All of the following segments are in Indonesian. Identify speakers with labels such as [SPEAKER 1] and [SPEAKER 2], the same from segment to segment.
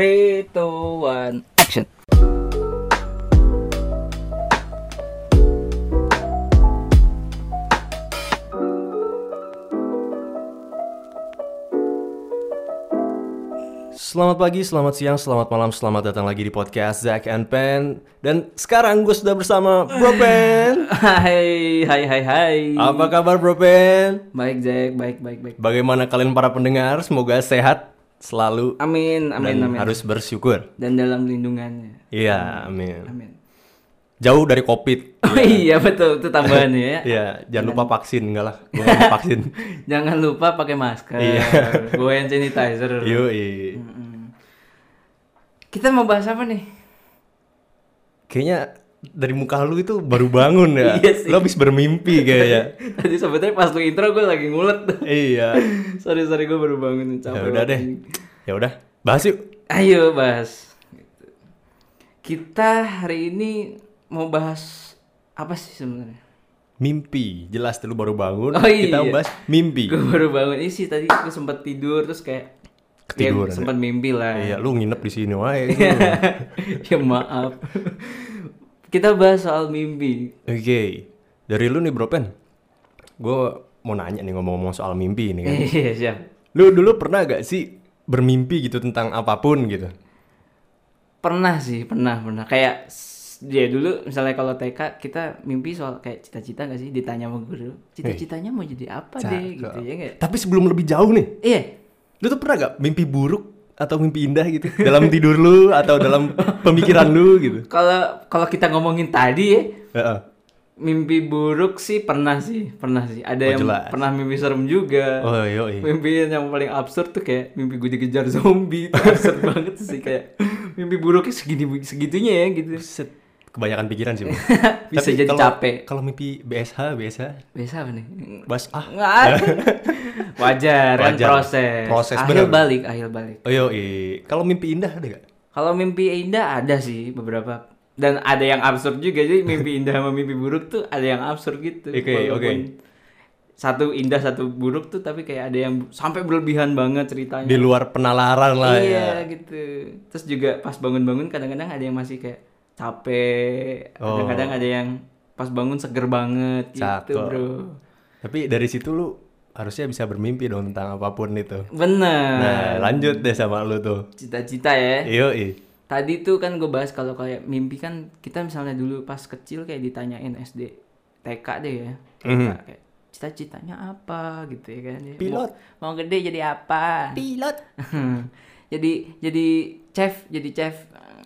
[SPEAKER 1] 3, 2, 1, action
[SPEAKER 2] Selamat pagi, selamat siang, selamat malam, selamat datang lagi di podcast Zack and Pen Dan sekarang gue sudah bersama Bro Pen
[SPEAKER 1] Hai, hai, hai, hai
[SPEAKER 2] Apa kabar Bro Pen?
[SPEAKER 1] Baik Jack, baik, baik, baik
[SPEAKER 2] Bagaimana kalian para pendengar? Semoga sehat selalu
[SPEAKER 1] Amin, amin,
[SPEAKER 2] dan
[SPEAKER 1] amin
[SPEAKER 2] harus bersyukur
[SPEAKER 1] Dan dalam lindungannya
[SPEAKER 2] Iya, amin
[SPEAKER 1] Amin
[SPEAKER 2] Jauh dari covid
[SPEAKER 1] Oh iya betul, itu tambahannya ya
[SPEAKER 2] Iya, jangan lupa vaksin, enggak lah Gue nggak mau vaksin
[SPEAKER 1] Jangan lupa pakai masker
[SPEAKER 2] Iya.
[SPEAKER 1] Go hand sanitizer
[SPEAKER 2] Yoi
[SPEAKER 1] Kita mau bahas apa nih?
[SPEAKER 2] Kayaknya dari muka lu itu baru bangun ya
[SPEAKER 1] Iya sih.
[SPEAKER 2] Lu habis bermimpi kayaknya
[SPEAKER 1] Tadi sebenarnya pas lu intro gue lagi ngulet
[SPEAKER 2] Iya
[SPEAKER 1] Sorry, sorry gue baru bangun
[SPEAKER 2] Ya
[SPEAKER 1] capek
[SPEAKER 2] udah
[SPEAKER 1] banget.
[SPEAKER 2] deh Ya udah, bahas yuk
[SPEAKER 1] Ayo bahas. Kita hari ini mau bahas apa sih sebenarnya?
[SPEAKER 2] mimpi jelas dulu baru bangun
[SPEAKER 1] Oh,
[SPEAKER 2] kita
[SPEAKER 1] iya.
[SPEAKER 2] bahas mimpi
[SPEAKER 1] Gue baru bangun ini sih tadi gue sempat tidur terus kayak ya,
[SPEAKER 2] Ketiduran,
[SPEAKER 1] sempat mimpi lah.
[SPEAKER 2] iya lu nginep di sini wae lu.
[SPEAKER 1] ya maaf. Kita bahas soal mimpi.
[SPEAKER 2] oke dari lu nih bro pen gue mau nanya nih ngomong-ngomong soal mimpi ini kan
[SPEAKER 1] Iya siap.
[SPEAKER 2] lu dulu pernah gak sih bermimpi gitu tentang apapun gitu
[SPEAKER 1] Pernah sih, pernah, pernah. Kayak s- ya dulu misalnya kalau TK kita mimpi soal kayak cita-cita gak sih ditanya sama guru cita-citanya mau jadi apa deh gitu ya nggak?
[SPEAKER 2] tapi sebelum lebih jauh nih
[SPEAKER 1] iya
[SPEAKER 2] lu tuh pernah gak mimpi buruk atau mimpi indah gitu dalam tidur lu atau dalam pemikiran lu gitu
[SPEAKER 1] kalau kalau kita ngomongin tadi ya
[SPEAKER 2] Heeh.
[SPEAKER 1] Mimpi buruk sih pernah sih, pernah sih. Ada yang
[SPEAKER 2] jelas.
[SPEAKER 1] pernah mimpi serem juga.
[SPEAKER 2] oh iya iya.
[SPEAKER 1] Mimpi yang paling absurd tuh kayak mimpi gue dikejar zombie. Itu absurd banget sih kayak mimpi buruknya segini segitunya ya gitu.
[SPEAKER 2] Set. kebanyakan pikiran sih Bro.
[SPEAKER 1] Bisa
[SPEAKER 2] Tapi
[SPEAKER 1] jadi
[SPEAKER 2] kalau-
[SPEAKER 1] capek.
[SPEAKER 2] kalau mimpi BSH BSH
[SPEAKER 1] Biasa apa nih?
[SPEAKER 2] bas ah
[SPEAKER 1] Nggak ada. Wajar, kan
[SPEAKER 2] Wajar.
[SPEAKER 1] proses.
[SPEAKER 2] Proses,
[SPEAKER 1] akhir
[SPEAKER 2] bener.
[SPEAKER 1] balik, akhir balik.
[SPEAKER 2] Oh yoi. kalau mimpi indah ada gak?
[SPEAKER 1] Kalau mimpi indah ada sih beberapa dan ada yang absurd juga jadi mimpi indah sama mimpi buruk tuh ada yang absurd gitu.
[SPEAKER 2] Oke,
[SPEAKER 1] Walaupun
[SPEAKER 2] oke.
[SPEAKER 1] Satu indah satu buruk tuh tapi kayak ada yang sampai berlebihan banget ceritanya.
[SPEAKER 2] Di luar penalaran lah ya.
[SPEAKER 1] iya gitu. Terus juga pas bangun-bangun kadang-kadang ada yang masih kayak capek,
[SPEAKER 2] Oh.
[SPEAKER 1] kadang-kadang ada yang pas bangun seger banget gitu,
[SPEAKER 2] Cakep.
[SPEAKER 1] Bro.
[SPEAKER 2] Tapi dari situ lu harusnya bisa bermimpi dong tentang apapun itu.
[SPEAKER 1] Bener.
[SPEAKER 2] Nah, lanjut deh sama lu tuh.
[SPEAKER 1] Cita-cita ya.
[SPEAKER 2] Yoi.
[SPEAKER 1] Tadi tuh kan gue bahas kalau kayak mimpi kan kita misalnya dulu pas kecil kayak ditanyain SD, TK deh ya. TK, kayak cita-citanya apa gitu ya kan. Ya,
[SPEAKER 2] Mhm. Pilot.
[SPEAKER 1] Mau, mau gede jadi apa?
[SPEAKER 2] Pilot.
[SPEAKER 1] jadi jadi chef, jadi chef.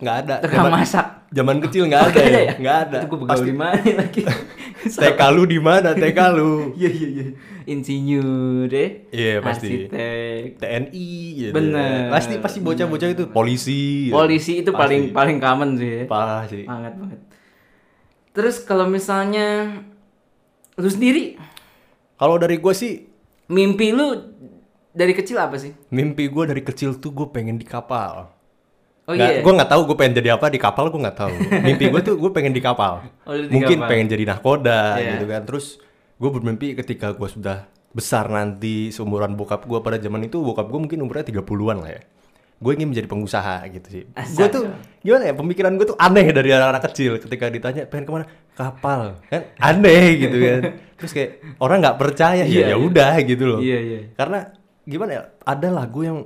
[SPEAKER 2] Nggak ada.
[SPEAKER 1] Tukang
[SPEAKER 2] Zaman-
[SPEAKER 1] masak.
[SPEAKER 2] Zaman kecil nggak ada,
[SPEAKER 1] Nggak
[SPEAKER 2] ya? Nggak ada.
[SPEAKER 1] Itu gue begaul
[SPEAKER 2] Pasti
[SPEAKER 1] di mana lagi?
[SPEAKER 2] TK lu di mana? TK lu.
[SPEAKER 1] Iya iya iya. Insinyur deh.
[SPEAKER 2] Iya, pasti.
[SPEAKER 1] Arsitek.
[SPEAKER 2] TNI gitu.
[SPEAKER 1] Bener.
[SPEAKER 2] Pasti pasti bocah-bocah itu polisi. gitu.
[SPEAKER 1] Polisi itu paling paling common sih ya.
[SPEAKER 2] Pasti.
[SPEAKER 1] Banget banget. Terus kalau misalnya lu sendiri
[SPEAKER 2] Kalau dari gua sih
[SPEAKER 1] mimpi lu dari kecil apa sih?
[SPEAKER 2] mimpi gua dari kecil tuh gue pengen di kapal.
[SPEAKER 1] Oh iya.
[SPEAKER 2] Nggak- Gue nggak tahu gue pengen jadi apa di kapal gue nggak tahu. Mimpi gue tuh gue pengen di kapal.
[SPEAKER 1] Oh, lu di
[SPEAKER 2] Mungkin
[SPEAKER 1] kapal.
[SPEAKER 2] pengen jadi nahkoda
[SPEAKER 1] Iya.
[SPEAKER 2] gitu kan. Terus gue bermimpi ketika gue sudah besar nanti seumuran bokap gue pada zaman itu bokap gue mungkin umurnya 30-an lah ya. Gue ingin menjadi pengusaha gitu sih.
[SPEAKER 1] Asal.
[SPEAKER 2] Gue tuh gimana ya pemikiran gue tuh aneh dari anak-anak kecil ketika ditanya pengen kemana kapal kan aneh gitu kan. Terus kayak orang nggak percaya
[SPEAKER 1] Iya, iya.
[SPEAKER 2] ya ya udah gitu loh.
[SPEAKER 1] Iya, iya.
[SPEAKER 2] Karena gimana ya ada lagu yang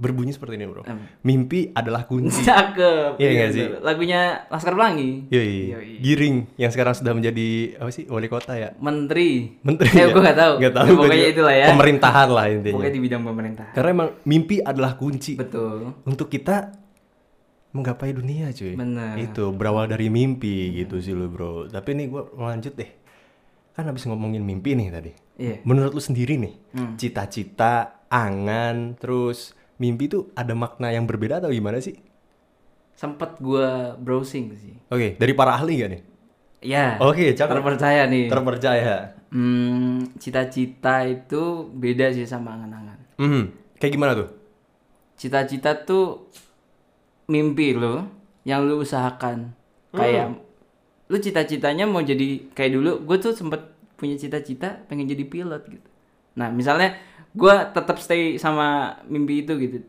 [SPEAKER 2] berbunyi seperti ini bro. Mimpi adalah kunci.
[SPEAKER 1] Cakep.
[SPEAKER 2] Iya nggak sih? Iya.
[SPEAKER 1] Lagunya Laskar Pelangi.
[SPEAKER 2] Yoi.
[SPEAKER 1] Yoi.
[SPEAKER 2] Giring yang sekarang sudah menjadi apa sih wali kota ya?
[SPEAKER 1] Menteri.
[SPEAKER 2] Menteri.
[SPEAKER 1] Eh,
[SPEAKER 2] ya?
[SPEAKER 1] gue nggak tahu.
[SPEAKER 2] Nggak tahu.
[SPEAKER 1] Ya,
[SPEAKER 2] gua
[SPEAKER 1] pokoknya
[SPEAKER 2] juga.
[SPEAKER 1] itulah ya.
[SPEAKER 2] Pemerintahan lah intinya.
[SPEAKER 1] Pokoknya di bidang pemerintah.
[SPEAKER 2] Karena emang mimpi adalah kunci
[SPEAKER 1] Betul.
[SPEAKER 2] untuk kita menggapai dunia cuy.
[SPEAKER 1] Benar.
[SPEAKER 2] Itu berawal dari mimpi gitu sih lo bro. Tapi nih gue lanjut deh. Kan habis ngomongin mimpi nih tadi.
[SPEAKER 1] Iya.
[SPEAKER 2] Menurut lu sendiri nih,
[SPEAKER 1] Hmm.
[SPEAKER 2] cita-cita, angan, terus mimpi itu ada makna yang berbeda atau gimana sih?
[SPEAKER 1] Sempet gua browsing sih.
[SPEAKER 2] Oke, dari para ahli gak nih?
[SPEAKER 1] Ya.
[SPEAKER 2] Oke, cakep.
[SPEAKER 1] Terpercaya nih.
[SPEAKER 2] Terpercaya.
[SPEAKER 1] Hmm, cita-cita itu beda sih sama angan-angan.
[SPEAKER 2] Hmm, kayak gimana tuh?
[SPEAKER 1] Cita-cita tuh mimpi lo yang lu usahakan. Kayak lu cita-citanya mau jadi kayak dulu gue tuh sempet punya cita-cita pengen jadi pilot gitu. Nah, misalnya gue tetap stay sama mimpi itu gitu.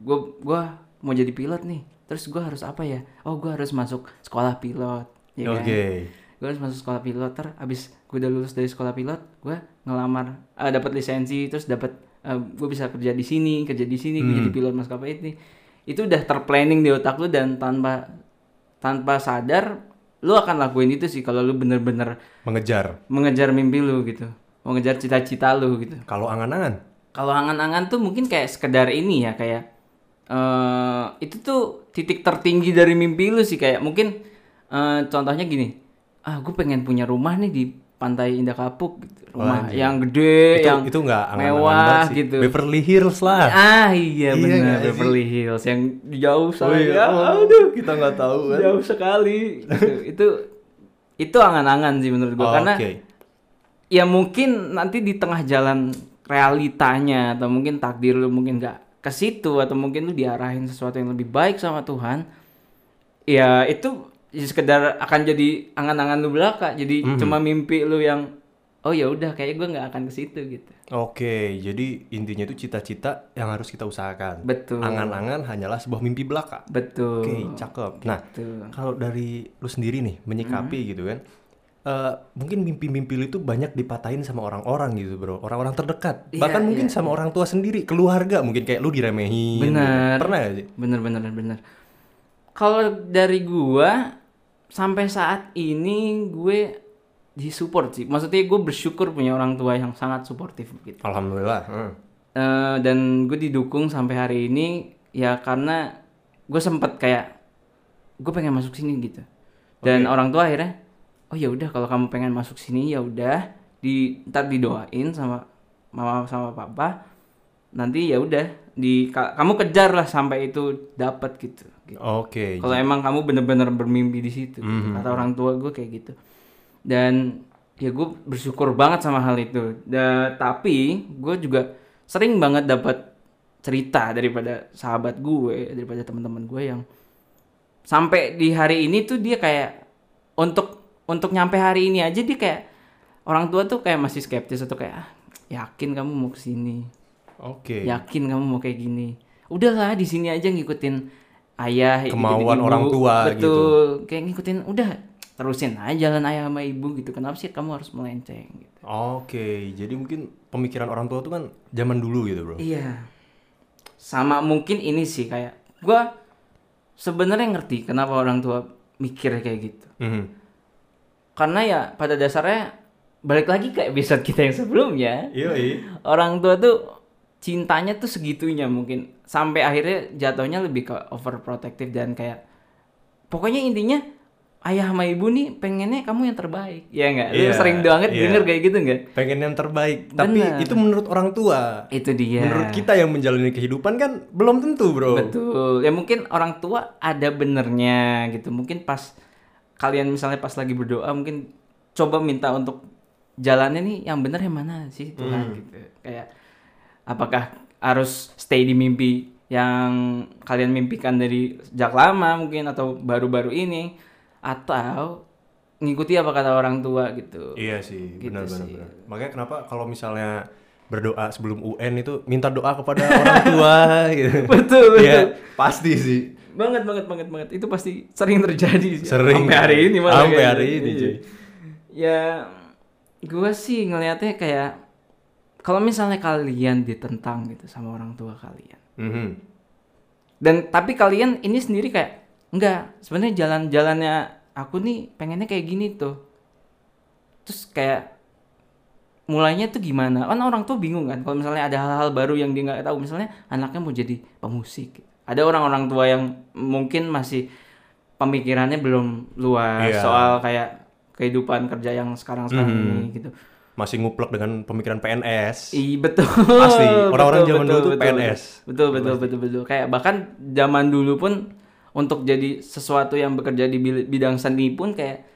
[SPEAKER 1] Gue gua mau jadi pilot nih terus gua harus apa ya oh gua harus masuk sekolah pilot ya kan?
[SPEAKER 2] Oke.
[SPEAKER 1] gue harus masuk sekolah pilot ter abis gue udah lulus dari sekolah pilot gue ngelamar eh, dapat lisensi terus dapat gue bisa kerja di sini kerja di sini gue jadi pilot maskapai ini itu udah terplanning di otak lu dan tanpa tanpa sadar lu akan lakuin itu sih kalau lu bener-bener
[SPEAKER 2] Mengejar.
[SPEAKER 1] mengejar mimpi lu gitu mengejar cita-cita lu gitu
[SPEAKER 2] Kalau angan-angan,
[SPEAKER 1] kalau angan-angan tuh mungkin kayak sekedar ini ya kayak eh itu tuh titik tertinggi dari mimpi lu sih kayak mungkin eh, contohnya gini ah gue pengen punya rumah nih di pantai Indah Kapuk gitu. rumah
[SPEAKER 2] anjir.
[SPEAKER 1] yang gede
[SPEAKER 2] itu
[SPEAKER 1] yang
[SPEAKER 2] itu nggak angan-angan
[SPEAKER 1] mewah
[SPEAKER 2] banget sih.
[SPEAKER 1] gitu
[SPEAKER 2] Beverly Hills lah.
[SPEAKER 1] ah iya,
[SPEAKER 2] Iya
[SPEAKER 1] benar
[SPEAKER 2] nggak sih?
[SPEAKER 1] Beverly Hills yang jauh
[SPEAKER 2] Oh
[SPEAKER 1] sana
[SPEAKER 2] iya,
[SPEAKER 1] ya,
[SPEAKER 2] oh,
[SPEAKER 1] aduh
[SPEAKER 2] kita nggak tahu kan.
[SPEAKER 1] jauh sekali gitu. itu itu angan-angan sih menurut gue
[SPEAKER 2] Oh,
[SPEAKER 1] Iya, karena
[SPEAKER 2] Oke.
[SPEAKER 1] ya mungkin nanti di tengah jalan realitanya atau mungkin takdir lu mungkin nggak ke situ atau mungkin lu diarahin sesuatu yang lebih baik sama Tuhan ya itu ya sekedar akan jadi angan-angan lu belaka jadi cuma mimpi lu yang oh ya udah kayaknya gue nggak akan ke situ gitu
[SPEAKER 2] Oke, jadi intinya itu cita-cita yang harus kita usahakan.
[SPEAKER 1] Betul.
[SPEAKER 2] Angan-angan hanyalah sebuah mimpi belaka.
[SPEAKER 1] betul
[SPEAKER 2] Oke, cakep. Nah,
[SPEAKER 1] Betul.
[SPEAKER 2] kalau dari lu sendiri nih menyikapi
[SPEAKER 1] Hmm.
[SPEAKER 2] gitu kan, eh, mungkin mimpi-mimpi lu itu banyak dipatahin sama orang-orang gitu bro, orang-orang terdekat,
[SPEAKER 1] Iya,
[SPEAKER 2] bahkan
[SPEAKER 1] iya,
[SPEAKER 2] mungkin sama orang tua sendiri, keluarga mungkin kayak lu diremehin. gitu.
[SPEAKER 1] Benar.
[SPEAKER 2] Pernah gak sih?
[SPEAKER 1] bener bener bener kalau dari gua sampai saat ini gue disupport sih maksudnya gue bersyukur punya orang tua yang sangat suportif gitu
[SPEAKER 2] Alhamdulillah. Hmm.
[SPEAKER 1] Eh, dan gue didukung sampai hari ini ya karena gue sempet kayak gue pengen masuk sini gitu dan orang tua akhirnya oh ya udah kalau kamu pengen masuk sini ya udah di ntar didoain sama mama sama papa nanti ya udah di ka- kamu kejar lah sampai itu dapat gitu, gitu.
[SPEAKER 2] Oke.
[SPEAKER 1] kalau emang kamu bener-bener bermimpi di situ gitu. kata orang tua gue kayak gitu dan ya gue bersyukur banget sama hal itu Da- tapi gue juga sering banget dapat cerita daripada sahabat gue daripada teman-teman gue yang sampai di hari ini tuh dia kayak untuk untuk nyampe hari ini aja dia kayak orang tua tuh kayak masih skeptis atau kayak "Ah, yakin kamu mau kesini
[SPEAKER 2] Oke.
[SPEAKER 1] yakin kamu mau kayak gini udahlah di sini aja ngikutin ayah
[SPEAKER 2] Kemauan
[SPEAKER 1] ibu.
[SPEAKER 2] orang tua gitu.
[SPEAKER 1] betul kayak ngikutin udah terusin aja jalan ayah sama ibu gitu kenapa sih kamu harus melenceng gitu
[SPEAKER 2] Oke, jadi mungkin pemikiran orang tua tuh kan zaman dulu gitu, Bro.
[SPEAKER 1] iya sama mungkin ini sih kayak gua sebenarnya ngerti kenapa orang tua mikir kayak gitu
[SPEAKER 2] Mhm.
[SPEAKER 1] karena ya pada dasarnya balik lagi ke episode kita yang sebelumnya
[SPEAKER 2] Yoi.
[SPEAKER 1] orang tua tuh cintanya tuh segitunya mungkin sampai akhirnya jatuhnya lebih ke overprotective dan kayak pokoknya intinya ayah sama ibu nih pengennya kamu yang terbaik ya enggak lu
[SPEAKER 2] Iya,
[SPEAKER 1] sering banget
[SPEAKER 2] iya.
[SPEAKER 1] denger kayak gitu enggak
[SPEAKER 2] Pengen yang terbaik, tapi
[SPEAKER 1] Benar.
[SPEAKER 2] itu menurut orang tua.
[SPEAKER 1] itu dia
[SPEAKER 2] Menurut kita yang menjalani kehidupan kan belum tentu, Bro.
[SPEAKER 1] betul ya mungkin orang tua ada benernya gitu mungkin pas kalian misalnya pas lagi berdoa mungkin coba minta untuk jalannya nih yang bener yang mana sih Tuhan gitu kayak apakah harus stay di mimpi yang kalian mimpikan dari sejak lama mungkin atau baru-baru ini atau ngikuti apa kata orang tua gitu
[SPEAKER 2] Iya sih,
[SPEAKER 1] Gitu
[SPEAKER 2] benar benar
[SPEAKER 1] sih.
[SPEAKER 2] benar. Makanya kenapa kalau misalnya berdoa sebelum UN itu minta doa kepada orang tua gitu.
[SPEAKER 1] Betul, betul.
[SPEAKER 2] Iya, pasti sih.
[SPEAKER 1] banget banget banget banget itu pasti sering terjadi sih.
[SPEAKER 2] Sering.
[SPEAKER 1] sampai hari ini malah
[SPEAKER 2] Sampai
[SPEAKER 1] kayaknya.
[SPEAKER 2] hari ini,
[SPEAKER 1] Iya.
[SPEAKER 2] cuy.
[SPEAKER 1] ya gua sih ngelihatnya kayak kalau misalnya kalian ditentang gitu sama orang tua kalian
[SPEAKER 2] Mhm.
[SPEAKER 1] dan tapi kalian ini sendiri kayak enggak sebenarnya jalan-jalannya aku nih pengennya kayak gini tuh terus kayak mulainya tuh gimana kan orang tuh bingung kan kalau misalnya ada hal-hal baru yang dia nggak tahu misalnya anaknya mau jadi pemusik ada orang-orang tua yang mungkin masih pemikirannya belum luas
[SPEAKER 2] Iya.
[SPEAKER 1] soal kayak kehidupan kerja yang sekarang sekarang ini gitu
[SPEAKER 2] Masih nguplek dengan pemikiran PNS.
[SPEAKER 1] Iya betul.
[SPEAKER 2] Asli, orang-orang
[SPEAKER 1] Betul,
[SPEAKER 2] zaman dulu
[SPEAKER 1] betul,
[SPEAKER 2] tuh
[SPEAKER 1] betul,
[SPEAKER 2] PNS.
[SPEAKER 1] Betul betul betul betul. Kayak bahkan zaman dulu pun untuk jadi sesuatu yang bekerja di bil- bidang seni pun kayak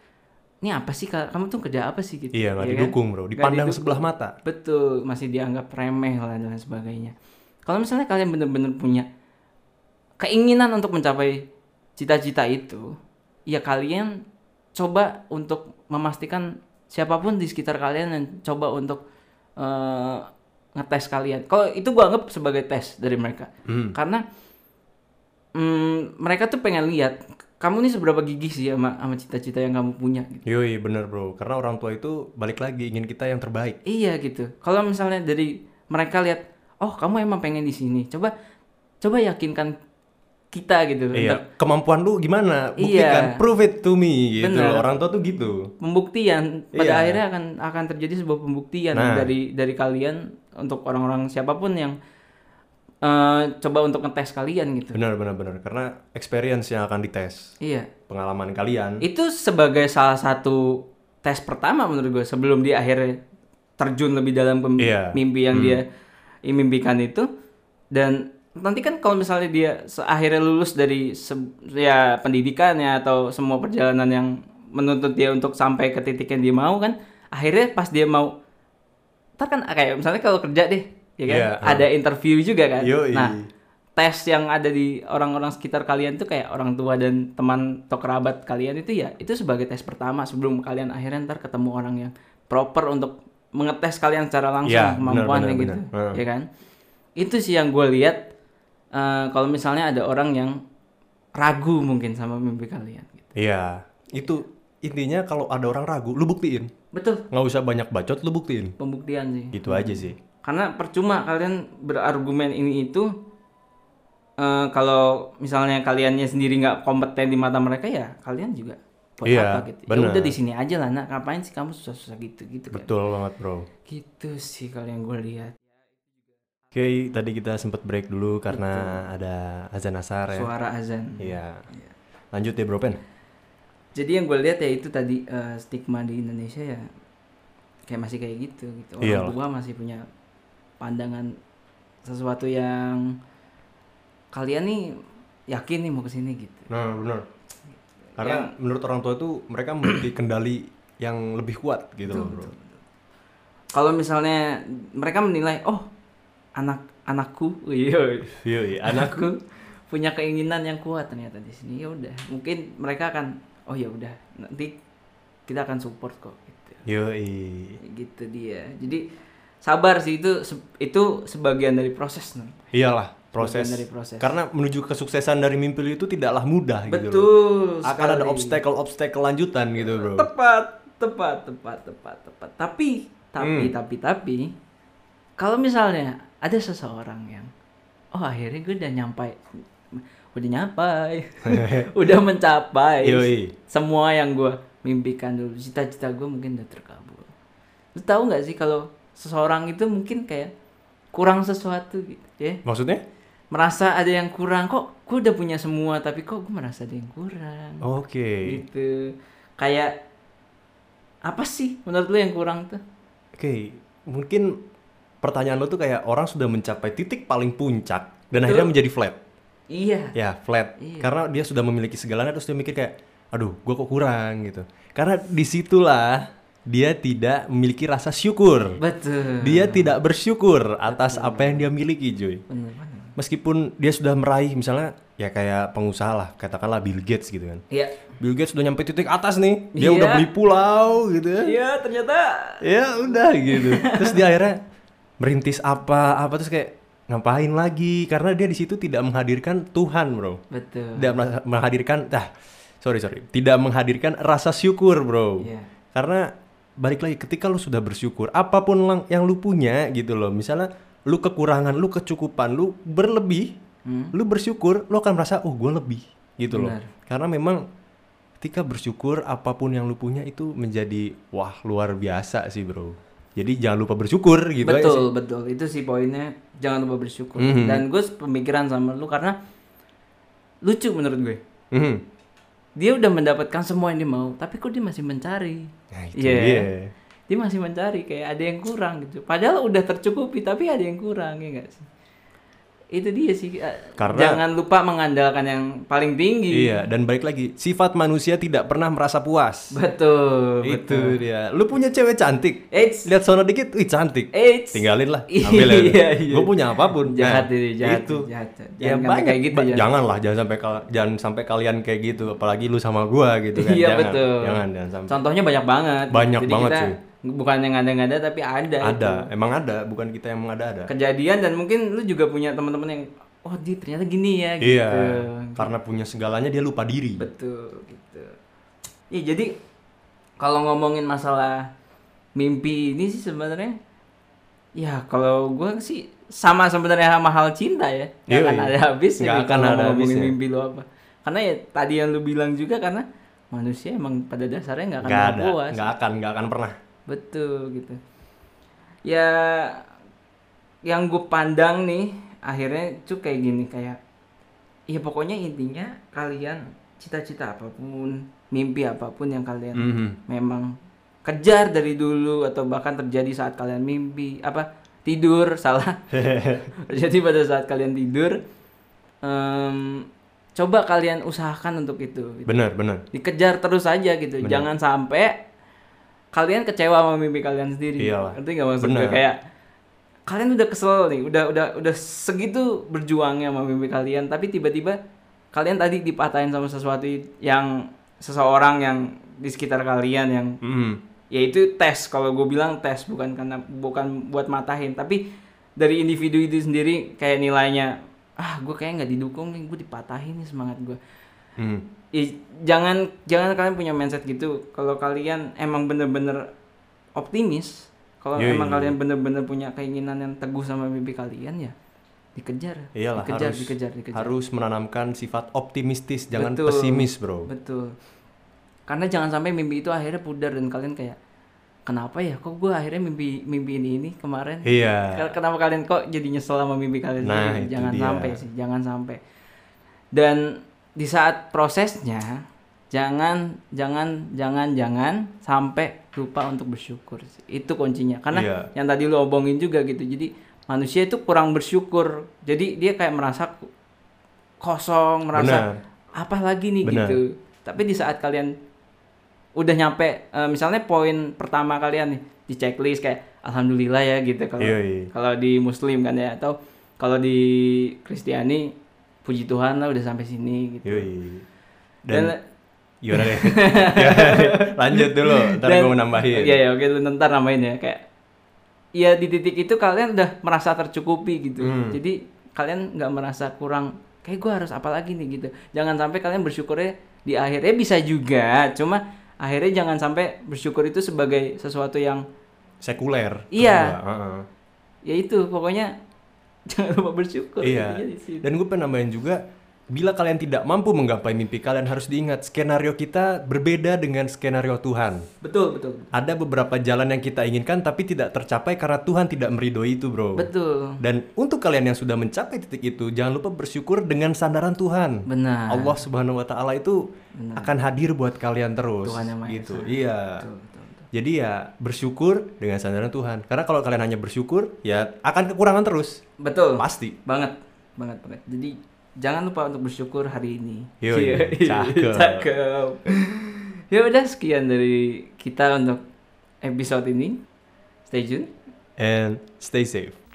[SPEAKER 1] ini apa sih Kak? kamu tuh kerja apa sih gitu.
[SPEAKER 2] Iya, nggak
[SPEAKER 1] ya kan?
[SPEAKER 2] didukung, Bro.
[SPEAKER 1] Nggak
[SPEAKER 2] Dipandang
[SPEAKER 1] didukung.
[SPEAKER 2] sebelah mata.
[SPEAKER 1] Betul, masih dianggap remeh lah dan lain sebagainya. Kalau misalnya kalian bener-bener punya keinginan untuk mencapai cita-cita itu, ya kalian coba untuk memastikan siapapun di sekitar kalian yang coba untuk eh, ngetes kalian. Kalau itu gua anggap sebagai tes dari mereka. Karena mm, mereka tuh pengen lihat kamu nih seberapa gigih sih sama sama cita-cita yang kamu punya gitu.
[SPEAKER 2] Yoi, bener bro. Karena orang tua itu balik lagi ingin kita yang terbaik.
[SPEAKER 1] Iya gitu. Kalau misalnya dari mereka lihat, oh kamu emang pengen di sini. Coba coba yakinkan kita gitu. Bentar.
[SPEAKER 2] Iya. Kemampuan lu gimana?
[SPEAKER 1] Iya.
[SPEAKER 2] Buktikan, prove it to me gitu.
[SPEAKER 1] Bener.
[SPEAKER 2] Orang tua tuh gitu.
[SPEAKER 1] Pembuktian pada
[SPEAKER 2] Iya.
[SPEAKER 1] akhirnya akan akan terjadi sebuah pembuktian
[SPEAKER 2] Nah.
[SPEAKER 1] dari dari kalian untuk orang-orang siapapun yang eh, coba untuk ngetes kalian gitu.
[SPEAKER 2] Benar, benar, benar. Karena experience yang akan dites,
[SPEAKER 1] Iya.
[SPEAKER 2] pengalaman kalian.
[SPEAKER 1] Itu sebagai salah satu tes pertama menurut gue sebelum dia akhirnya terjun lebih dalam ke
[SPEAKER 2] Iya.
[SPEAKER 1] mimpi yang dia mimpikan itu dan nanti kan kalau misalnya dia se- akhirnya lulus dari se- ya pendidikannya atau semua perjalanan yang menuntut dia untuk sampai ke titik yang dia mau kan akhirnya pas dia mau ntar kan kayak misalnya kalau kerja deh ya kan
[SPEAKER 2] Iya,
[SPEAKER 1] ada interview juga kan
[SPEAKER 2] Yoi.
[SPEAKER 1] nah tes yang ada di orang-orang sekitar kalian tuh kayak orang tua dan teman atau kerabat kalian itu ya itu sebagai tes pertama sebelum kalian akhirnya ntar ketemu orang yang proper untuk mengetes kalian secara langsung
[SPEAKER 2] Ya,
[SPEAKER 1] kemampuannya
[SPEAKER 2] benar,
[SPEAKER 1] gitu
[SPEAKER 2] benar, benar.
[SPEAKER 1] ya kan itu sih yang gue lihat eh, kalau misalnya ada orang yang ragu mungkin sama mimpi kalian gitu.
[SPEAKER 2] Iya. Itu intinya kalau ada orang ragu, lu buktiin.
[SPEAKER 1] betul
[SPEAKER 2] Nggak usah banyak bacot, lu buktiin.
[SPEAKER 1] pembuktian sih
[SPEAKER 2] Gitu aja sih.
[SPEAKER 1] karena percuma kalian berargumen ini itu eh, kalau misalnya kaliannya sendiri nggak kompeten di mata mereka ya kalian juga buat
[SPEAKER 2] Iya,
[SPEAKER 1] apa gitu ya
[SPEAKER 2] bener.
[SPEAKER 1] udah di sini aja lah nak ngapain sih kamu susah-susah gitu gitu kan
[SPEAKER 2] Betul banget, bro.
[SPEAKER 1] gitu sih kalau yang gue lihat
[SPEAKER 2] Oke, tadi kita sempat break dulu karena ada azan asar ya.
[SPEAKER 1] suara azan
[SPEAKER 2] Iya. Lanjut ya, Bro Pen.
[SPEAKER 1] jadi yang gue lihat ya itu tadi eh, stigma di Indonesia ya kayak masih kayak gitu gitu orang
[SPEAKER 2] Iyalah.
[SPEAKER 1] tua masih punya pandangan sesuatu yang kalian nih yakin nih mau kesini gitu
[SPEAKER 2] Nah, benar. Karena menurut orang tua itu mereka memiliki kendali yang lebih kuat gitu loh, Bro.
[SPEAKER 1] kalau misalnya mereka menilai oh anak anakku iya
[SPEAKER 2] Yoi, anak
[SPEAKER 1] anakku punya keinginan yang kuat ternyata di sini ya udah mungkin mereka akan oh ya udah nanti kita akan support kok gitu
[SPEAKER 2] Yoi.
[SPEAKER 1] gitu dia jadi sabar sih itu se- itu sebagian dari proses nih
[SPEAKER 2] Iyalah, proses.
[SPEAKER 1] Bagian dari proses.
[SPEAKER 2] Karena menuju kesuksesan dari mimpi lu itu tidaklah mudah gitu. loh.
[SPEAKER 1] betul
[SPEAKER 2] Akan ada
[SPEAKER 1] sekali.
[SPEAKER 2] obstacle-obstacle lanjutan gitu, Bro.
[SPEAKER 1] tepat tepat tepat tepat tepat tapi tapi
[SPEAKER 2] Hmm.
[SPEAKER 1] tapi tapi kalau misalnya ada seseorang yang oh akhirnya gue udah nyampai udah nyampai udah mencapai
[SPEAKER 2] Yoi.
[SPEAKER 1] semua yang gue mimpikan dulu cita-cita gue mungkin udah terkabul lu tahu nggak sih kalau seseorang itu mungkin kayak kurang sesuatu gitu ya
[SPEAKER 2] Maksudnya?
[SPEAKER 1] merasa ada yang kurang kok gue udah punya semua tapi kok gue merasa ada yang kurang
[SPEAKER 2] Oke.
[SPEAKER 1] gitu kayak apa sih menurut lu yang kurang tuh
[SPEAKER 2] Oke, mungkin pertanyaan lu tuh kayak orang sudah mencapai titik paling puncak dan akhirnya menjadi flat.
[SPEAKER 1] iya
[SPEAKER 2] Ya, flat. Karena dia sudah memiliki segalanya terus dia mikir kayak, aduh, gua kok kurang gitu. Karena disitulah dia tidak memiliki rasa syukur.
[SPEAKER 1] betul
[SPEAKER 2] Dia tidak bersyukur atas apa yang dia miliki, cuy.
[SPEAKER 1] bener banget
[SPEAKER 2] meskipun dia sudah meraih misalnya ya kayak pengusaha lah katakanlah Bill Gates gitu kan
[SPEAKER 1] iya
[SPEAKER 2] Bill Gates udah nyampe titik atas nih dia
[SPEAKER 1] Iya.
[SPEAKER 2] udah beli pulau gitu ya
[SPEAKER 1] iya ternyata
[SPEAKER 2] ya udah gitu terus dia akhirnya merintis apa apa terus kayak ngapain lagi karena dia di situ tidak menghadirkan Tuhan bro
[SPEAKER 1] betul
[SPEAKER 2] tidak merasa- menghadirkan ah sorry sorry tidak menghadirkan rasa syukur bro
[SPEAKER 1] Iya.
[SPEAKER 2] karena balik lagi ketika lu sudah bersyukur apapun lang- yang lu punya gitu loh misalnya lu kekurangan lu kecukupan lu berlebih lu bersyukur lu akan merasa oh gue lebih gitu loh
[SPEAKER 1] Hmm. Benar.
[SPEAKER 2] karena memang ketika bersyukur apapun yang lu punya itu menjadi wah luar biasa sih bro jadi jangan lupa bersyukur gitu aja
[SPEAKER 1] betul
[SPEAKER 2] sih. Mhm.
[SPEAKER 1] betul itu sih poinnya jangan lupa bersyukur dan gue pemikiran sama lu karena lucu menurut gue
[SPEAKER 2] Mhm.
[SPEAKER 1] dia udah mendapatkan semua yang dia mau tapi kok dia masih mencari
[SPEAKER 2] nah itu
[SPEAKER 1] Iya.
[SPEAKER 2] dia
[SPEAKER 1] dia masih mencari kayak ada yang kurang gitu padahal udah tercukupi tapi ada yang kurang ya nggak sih itu dia sih eh,
[SPEAKER 2] Karena-
[SPEAKER 1] jangan lupa mengandalkan yang paling tinggi
[SPEAKER 2] Iya, dan balik lagi, sifat manusia tidak pernah merasa puas.
[SPEAKER 1] betul
[SPEAKER 2] Itu dia. Lu punya cewek cantik.
[SPEAKER 1] Eits,
[SPEAKER 2] Lihat sono dikit, wih cantik.
[SPEAKER 1] eits.
[SPEAKER 2] Tinggalin lah,
[SPEAKER 1] Iya,
[SPEAKER 2] ambil aja.
[SPEAKER 1] iya, iya.
[SPEAKER 2] Gua punya apapun.
[SPEAKER 1] jahat
[SPEAKER 2] Nah,
[SPEAKER 1] ini jahat
[SPEAKER 2] Itu.
[SPEAKER 1] jahat jangan
[SPEAKER 2] Ya,
[SPEAKER 1] sampai
[SPEAKER 2] banyak.
[SPEAKER 1] kayak gitu
[SPEAKER 2] Ba-
[SPEAKER 1] jangan.
[SPEAKER 2] Jangan lah, jangan sampai kal- jangan sampai kalian kayak gitu, apalagi lu sama gua gitu kan.
[SPEAKER 1] Iya,
[SPEAKER 2] jangan,
[SPEAKER 1] betul.
[SPEAKER 2] Jangan, jangan sampai.
[SPEAKER 1] contohnya banyak banget
[SPEAKER 2] Banyak
[SPEAKER 1] Jadi
[SPEAKER 2] banget
[SPEAKER 1] kita
[SPEAKER 2] sih.
[SPEAKER 1] bukan yang ada-ada tapi ada gitu.
[SPEAKER 2] Ada, emang ada, bukan kita yang mengada-ada.
[SPEAKER 1] kejadian dan mungkin lu juga punya teman-teman yang oh dia ternyata gini ya gitu
[SPEAKER 2] Iya. Karena punya segalanya dia lupa diri.
[SPEAKER 1] betul gitu ya jadi kalau ngomongin masalah mimpi ini sih sebenarnya ya kalau gue sih sama sebenarnya sama hal cinta ya nggak
[SPEAKER 2] Yoi.
[SPEAKER 1] akan ada habisnya
[SPEAKER 2] Nggak
[SPEAKER 1] nih
[SPEAKER 2] akan
[SPEAKER 1] kalau
[SPEAKER 2] ada
[SPEAKER 1] ngomongin
[SPEAKER 2] habisnya.
[SPEAKER 1] mimpi lo apa karena ya tadi yang lu bilang juga karena manusia emang pada dasarnya nggak akan
[SPEAKER 2] Nggak
[SPEAKER 1] pernah
[SPEAKER 2] ada,
[SPEAKER 1] puas
[SPEAKER 2] nggak akan, nggak akan pernah.
[SPEAKER 1] Betul gitu. Ya yang gue pandang nih akhirnya tuh kayak gini kayak ya pokoknya intinya kalian cita-cita apapun, mimpi apapun yang kalian
[SPEAKER 2] Mhm.
[SPEAKER 1] memang kejar dari dulu atau bahkan terjadi saat kalian mimpi apa tidur salah terjadi pada saat kalian tidur em, coba kalian usahakan untuk itu gitu
[SPEAKER 2] Bener, bener.
[SPEAKER 1] dikejar terus aja gitu
[SPEAKER 2] Bener.
[SPEAKER 1] jangan sampai kalian kecewa sama mimpi kalian sendiri
[SPEAKER 2] Iyalah.
[SPEAKER 1] ngerti nggak maksud gue?
[SPEAKER 2] Bener.
[SPEAKER 1] kayak kalian udah kesel nih udah udah udah segitu berjuangnya sama mimpi kalian tapi tiba-tiba kalian tadi dipatahin sama sesuatu yang seseorang yang di sekitar kalian yang
[SPEAKER 2] Mhm.
[SPEAKER 1] yaitu tes kalau gue bilang tes bukan karena bukan buat matahin tapi dari individu itu sendiri kayak nilainya ah gue kayak nggak didukung nih gue dipatahin nih semangat gue
[SPEAKER 2] Mhm.
[SPEAKER 1] Ih, jangan jangan kalian punya mindset gitu kalau kalian emang bener-bener optimis kalau
[SPEAKER 2] Yoi.
[SPEAKER 1] emang kalian bener-bener punya keinginan yang teguh sama mimpi kalian ya dikejar
[SPEAKER 2] Iyalah,
[SPEAKER 1] dikejar
[SPEAKER 2] harus-
[SPEAKER 1] dikejar dikejar
[SPEAKER 2] Harus menanamkan sifat optimistis, jangan
[SPEAKER 1] Betul.
[SPEAKER 2] pesimis, bro.
[SPEAKER 1] betul karena jangan sampai mimpi itu akhirnya pudar dan kalian kayak kenapa ya kok gue akhirnya mimpi mimpi ini ini kemarin
[SPEAKER 2] Iya.
[SPEAKER 1] Kel- Kenapa kalian kok jadi nyesel sama mimpi kalian
[SPEAKER 2] Nah,
[SPEAKER 1] sendiri?
[SPEAKER 2] itu
[SPEAKER 1] Jangan
[SPEAKER 2] dia.
[SPEAKER 1] sampai sih, jangan sampai. Dan di saat prosesnya jangan jangan jangan jangan sampai lupa untuk bersyukur. sih. Itu kuncinya. Karena
[SPEAKER 2] Iya.
[SPEAKER 1] yang tadi lu obongin juga gitu. Jadi manusia itu kurang bersyukur. Jadi dia kayak merasa ku- kosong, merasa
[SPEAKER 2] Benar.
[SPEAKER 1] apa lagi nih
[SPEAKER 2] Benar.
[SPEAKER 1] gitu. Tapi di saat kalian udah nyampe eh, misalnya poin pertama kalian nih di checklist kayak alhamdulillah ya gitu kalau
[SPEAKER 2] Iya, iya.
[SPEAKER 1] kalau di muslim kan ya atau kalau di Kristiani puji Tuhan lah udah sampai sini gitu.
[SPEAKER 2] Yoi. Iya. Dan,
[SPEAKER 1] Dan,
[SPEAKER 2] Yaudah deh. Ya, Lanjut dulu, ntar
[SPEAKER 1] dan-
[SPEAKER 2] gue nambahin.
[SPEAKER 1] Iya ya oke lu ntar nambahin ya kayak ya di titik itu kalian udah merasa tercukupi gitu.
[SPEAKER 2] Hmm.
[SPEAKER 1] Jadi kalian nggak merasa kurang kayak gue harus apa lagi nih gitu. Jangan sampai kalian bersyukurnya di akhirnya bisa juga, cuma akhirnya jangan sampai bersyukur itu sebagai sesuatu yang
[SPEAKER 2] Sekuler.
[SPEAKER 1] Iya.
[SPEAKER 2] kedua, heeh.
[SPEAKER 1] ya itu pokoknya jangan lupa bersyukur
[SPEAKER 2] Iya.
[SPEAKER 1] Intinya di situ.
[SPEAKER 2] Dan gue pengen nambahin juga, bila kalian tidak mampu menggapai mimpi kalian harus diingat skenario kita berbeda dengan skenario Tuhan.
[SPEAKER 1] betul betul
[SPEAKER 2] Ada beberapa jalan yang kita inginkan tapi tidak tercapai karena Tuhan tidak meridoi itu, bro.
[SPEAKER 1] betul
[SPEAKER 2] Dan untuk kalian yang sudah mencapai titik itu, jangan lupa bersyukur dengan sandaran Tuhan.
[SPEAKER 1] benar
[SPEAKER 2] Allah Subhanahu wa taala itu akan hadir buat kalian terus
[SPEAKER 1] Tuhan Yang Maha
[SPEAKER 2] gitu.
[SPEAKER 1] Esa.
[SPEAKER 2] Iya.
[SPEAKER 1] betul, betul, betul.
[SPEAKER 2] Jadi ya bersyukur dengan sandaran Tuhan. Karena kalau kalian hanya bersyukur, ya akan kekurangan terus.
[SPEAKER 1] Betul.
[SPEAKER 2] Pasti.
[SPEAKER 1] banget banget banget jadi jangan lupa untuk bersyukur hari ini
[SPEAKER 2] Yoi,
[SPEAKER 1] Yoi,
[SPEAKER 2] cakep.
[SPEAKER 1] cakep ya udah sekian dari kita untuk episode ini stay tune
[SPEAKER 2] And stay safe.